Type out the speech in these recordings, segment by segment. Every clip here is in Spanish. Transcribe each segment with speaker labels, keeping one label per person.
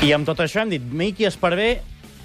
Speaker 1: I amb tot això hem dit, Miqui Esparvé,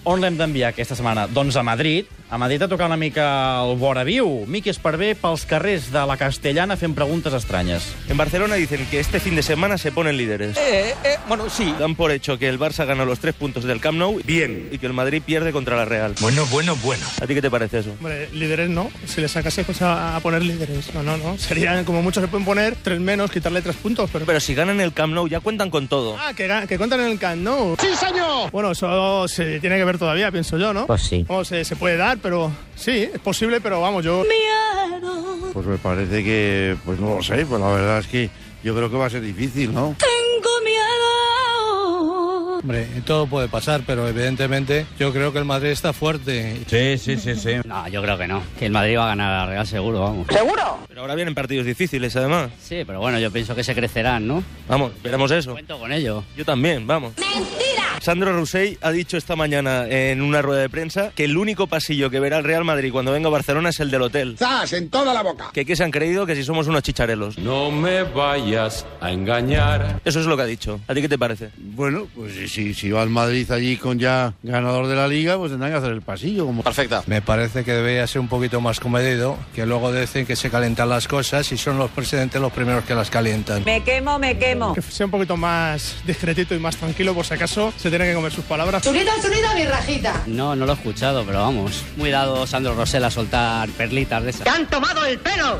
Speaker 1: on l'hem d'enviar aquesta setmana? Doncs a Madrid. A Madrid a tocar una mica el vora viu. Miqui Esparvé pels carrers de la Castellana fent preguntes estranyes.
Speaker 2: En Barcelona dicen que este fin de semana se ponen líderes.
Speaker 3: Eh, eh, bueno, sí.
Speaker 2: Dan por hecho que el Barça gana los tres puntos del Camp Nou. Bien. Y que el Madrid pierde contra la Real.
Speaker 4: Bueno, bueno, bueno.
Speaker 2: ¿A ti qué te parece eso?
Speaker 5: Hombre, líderes no. Si le sacase cosa a poner líderes. No, no, no. Serían como muchos se pueden poner tres menos, quitarle tres puntos. Pero,
Speaker 2: Pero si ganan el Camp Nou ya cuentan con todo.
Speaker 5: Ah, que, ga- que cuentan en el Camp Nou.
Speaker 6: ¡Sí, señor!
Speaker 5: Bueno, eso se tiene que ver todavía, pienso yo, ¿no?
Speaker 7: Pues sí.
Speaker 5: Vamos, eh, se puede dar, pero sí, es posible, pero vamos, yo...
Speaker 8: Pues me parece que, pues no lo sé, pues la verdad es que yo creo que va a ser difícil, ¿no?
Speaker 9: Hombre, todo puede pasar, pero evidentemente yo creo que el Madrid está fuerte.
Speaker 4: Sí, sí, sí, sí.
Speaker 7: No, yo creo que no. Que el Madrid va a ganar a la Real seguro, vamos.
Speaker 2: Pero ahora vienen partidos difíciles, además.
Speaker 7: Sí, pero bueno, yo pienso que se crecerán, ¿no?
Speaker 2: Vamos, veremos eso.
Speaker 7: Cuento con ello.
Speaker 2: Yo también, vamos. ¡Mentira! Sandro Rossell ha dicho esta mañana en una rueda de prensa que el único pasillo que verá el Real Madrid cuando venga a Barcelona es el del hotel.
Speaker 6: ¡Zas! En toda la boca.
Speaker 2: Que qué se han creído que si somos unos chicharelos.
Speaker 10: No me vayas a engañar.
Speaker 2: Eso es lo que ha dicho. ¿A ti qué te parece?
Speaker 8: Bueno, pues si, si va al Madrid allí con ya ganador de la liga, pues tendrán que hacer el pasillo. Como...
Speaker 6: Perfecta.
Speaker 9: Me parece que debería ser un poquito más comedido, que luego dicen que se calentan las cosas y son los presidentes los primeros que las calientan.
Speaker 11: Me quemo, me quemo.
Speaker 5: Que sea un poquito más discretito y más tranquilo, por si acaso se tiene que comer sus palabras.
Speaker 11: Chulita, chulita, mi rajita.
Speaker 7: No, no lo he escuchado, pero vamos. Muy dado Sandro Rosell a soltar perlitas de esas.
Speaker 11: han tomado el pelo!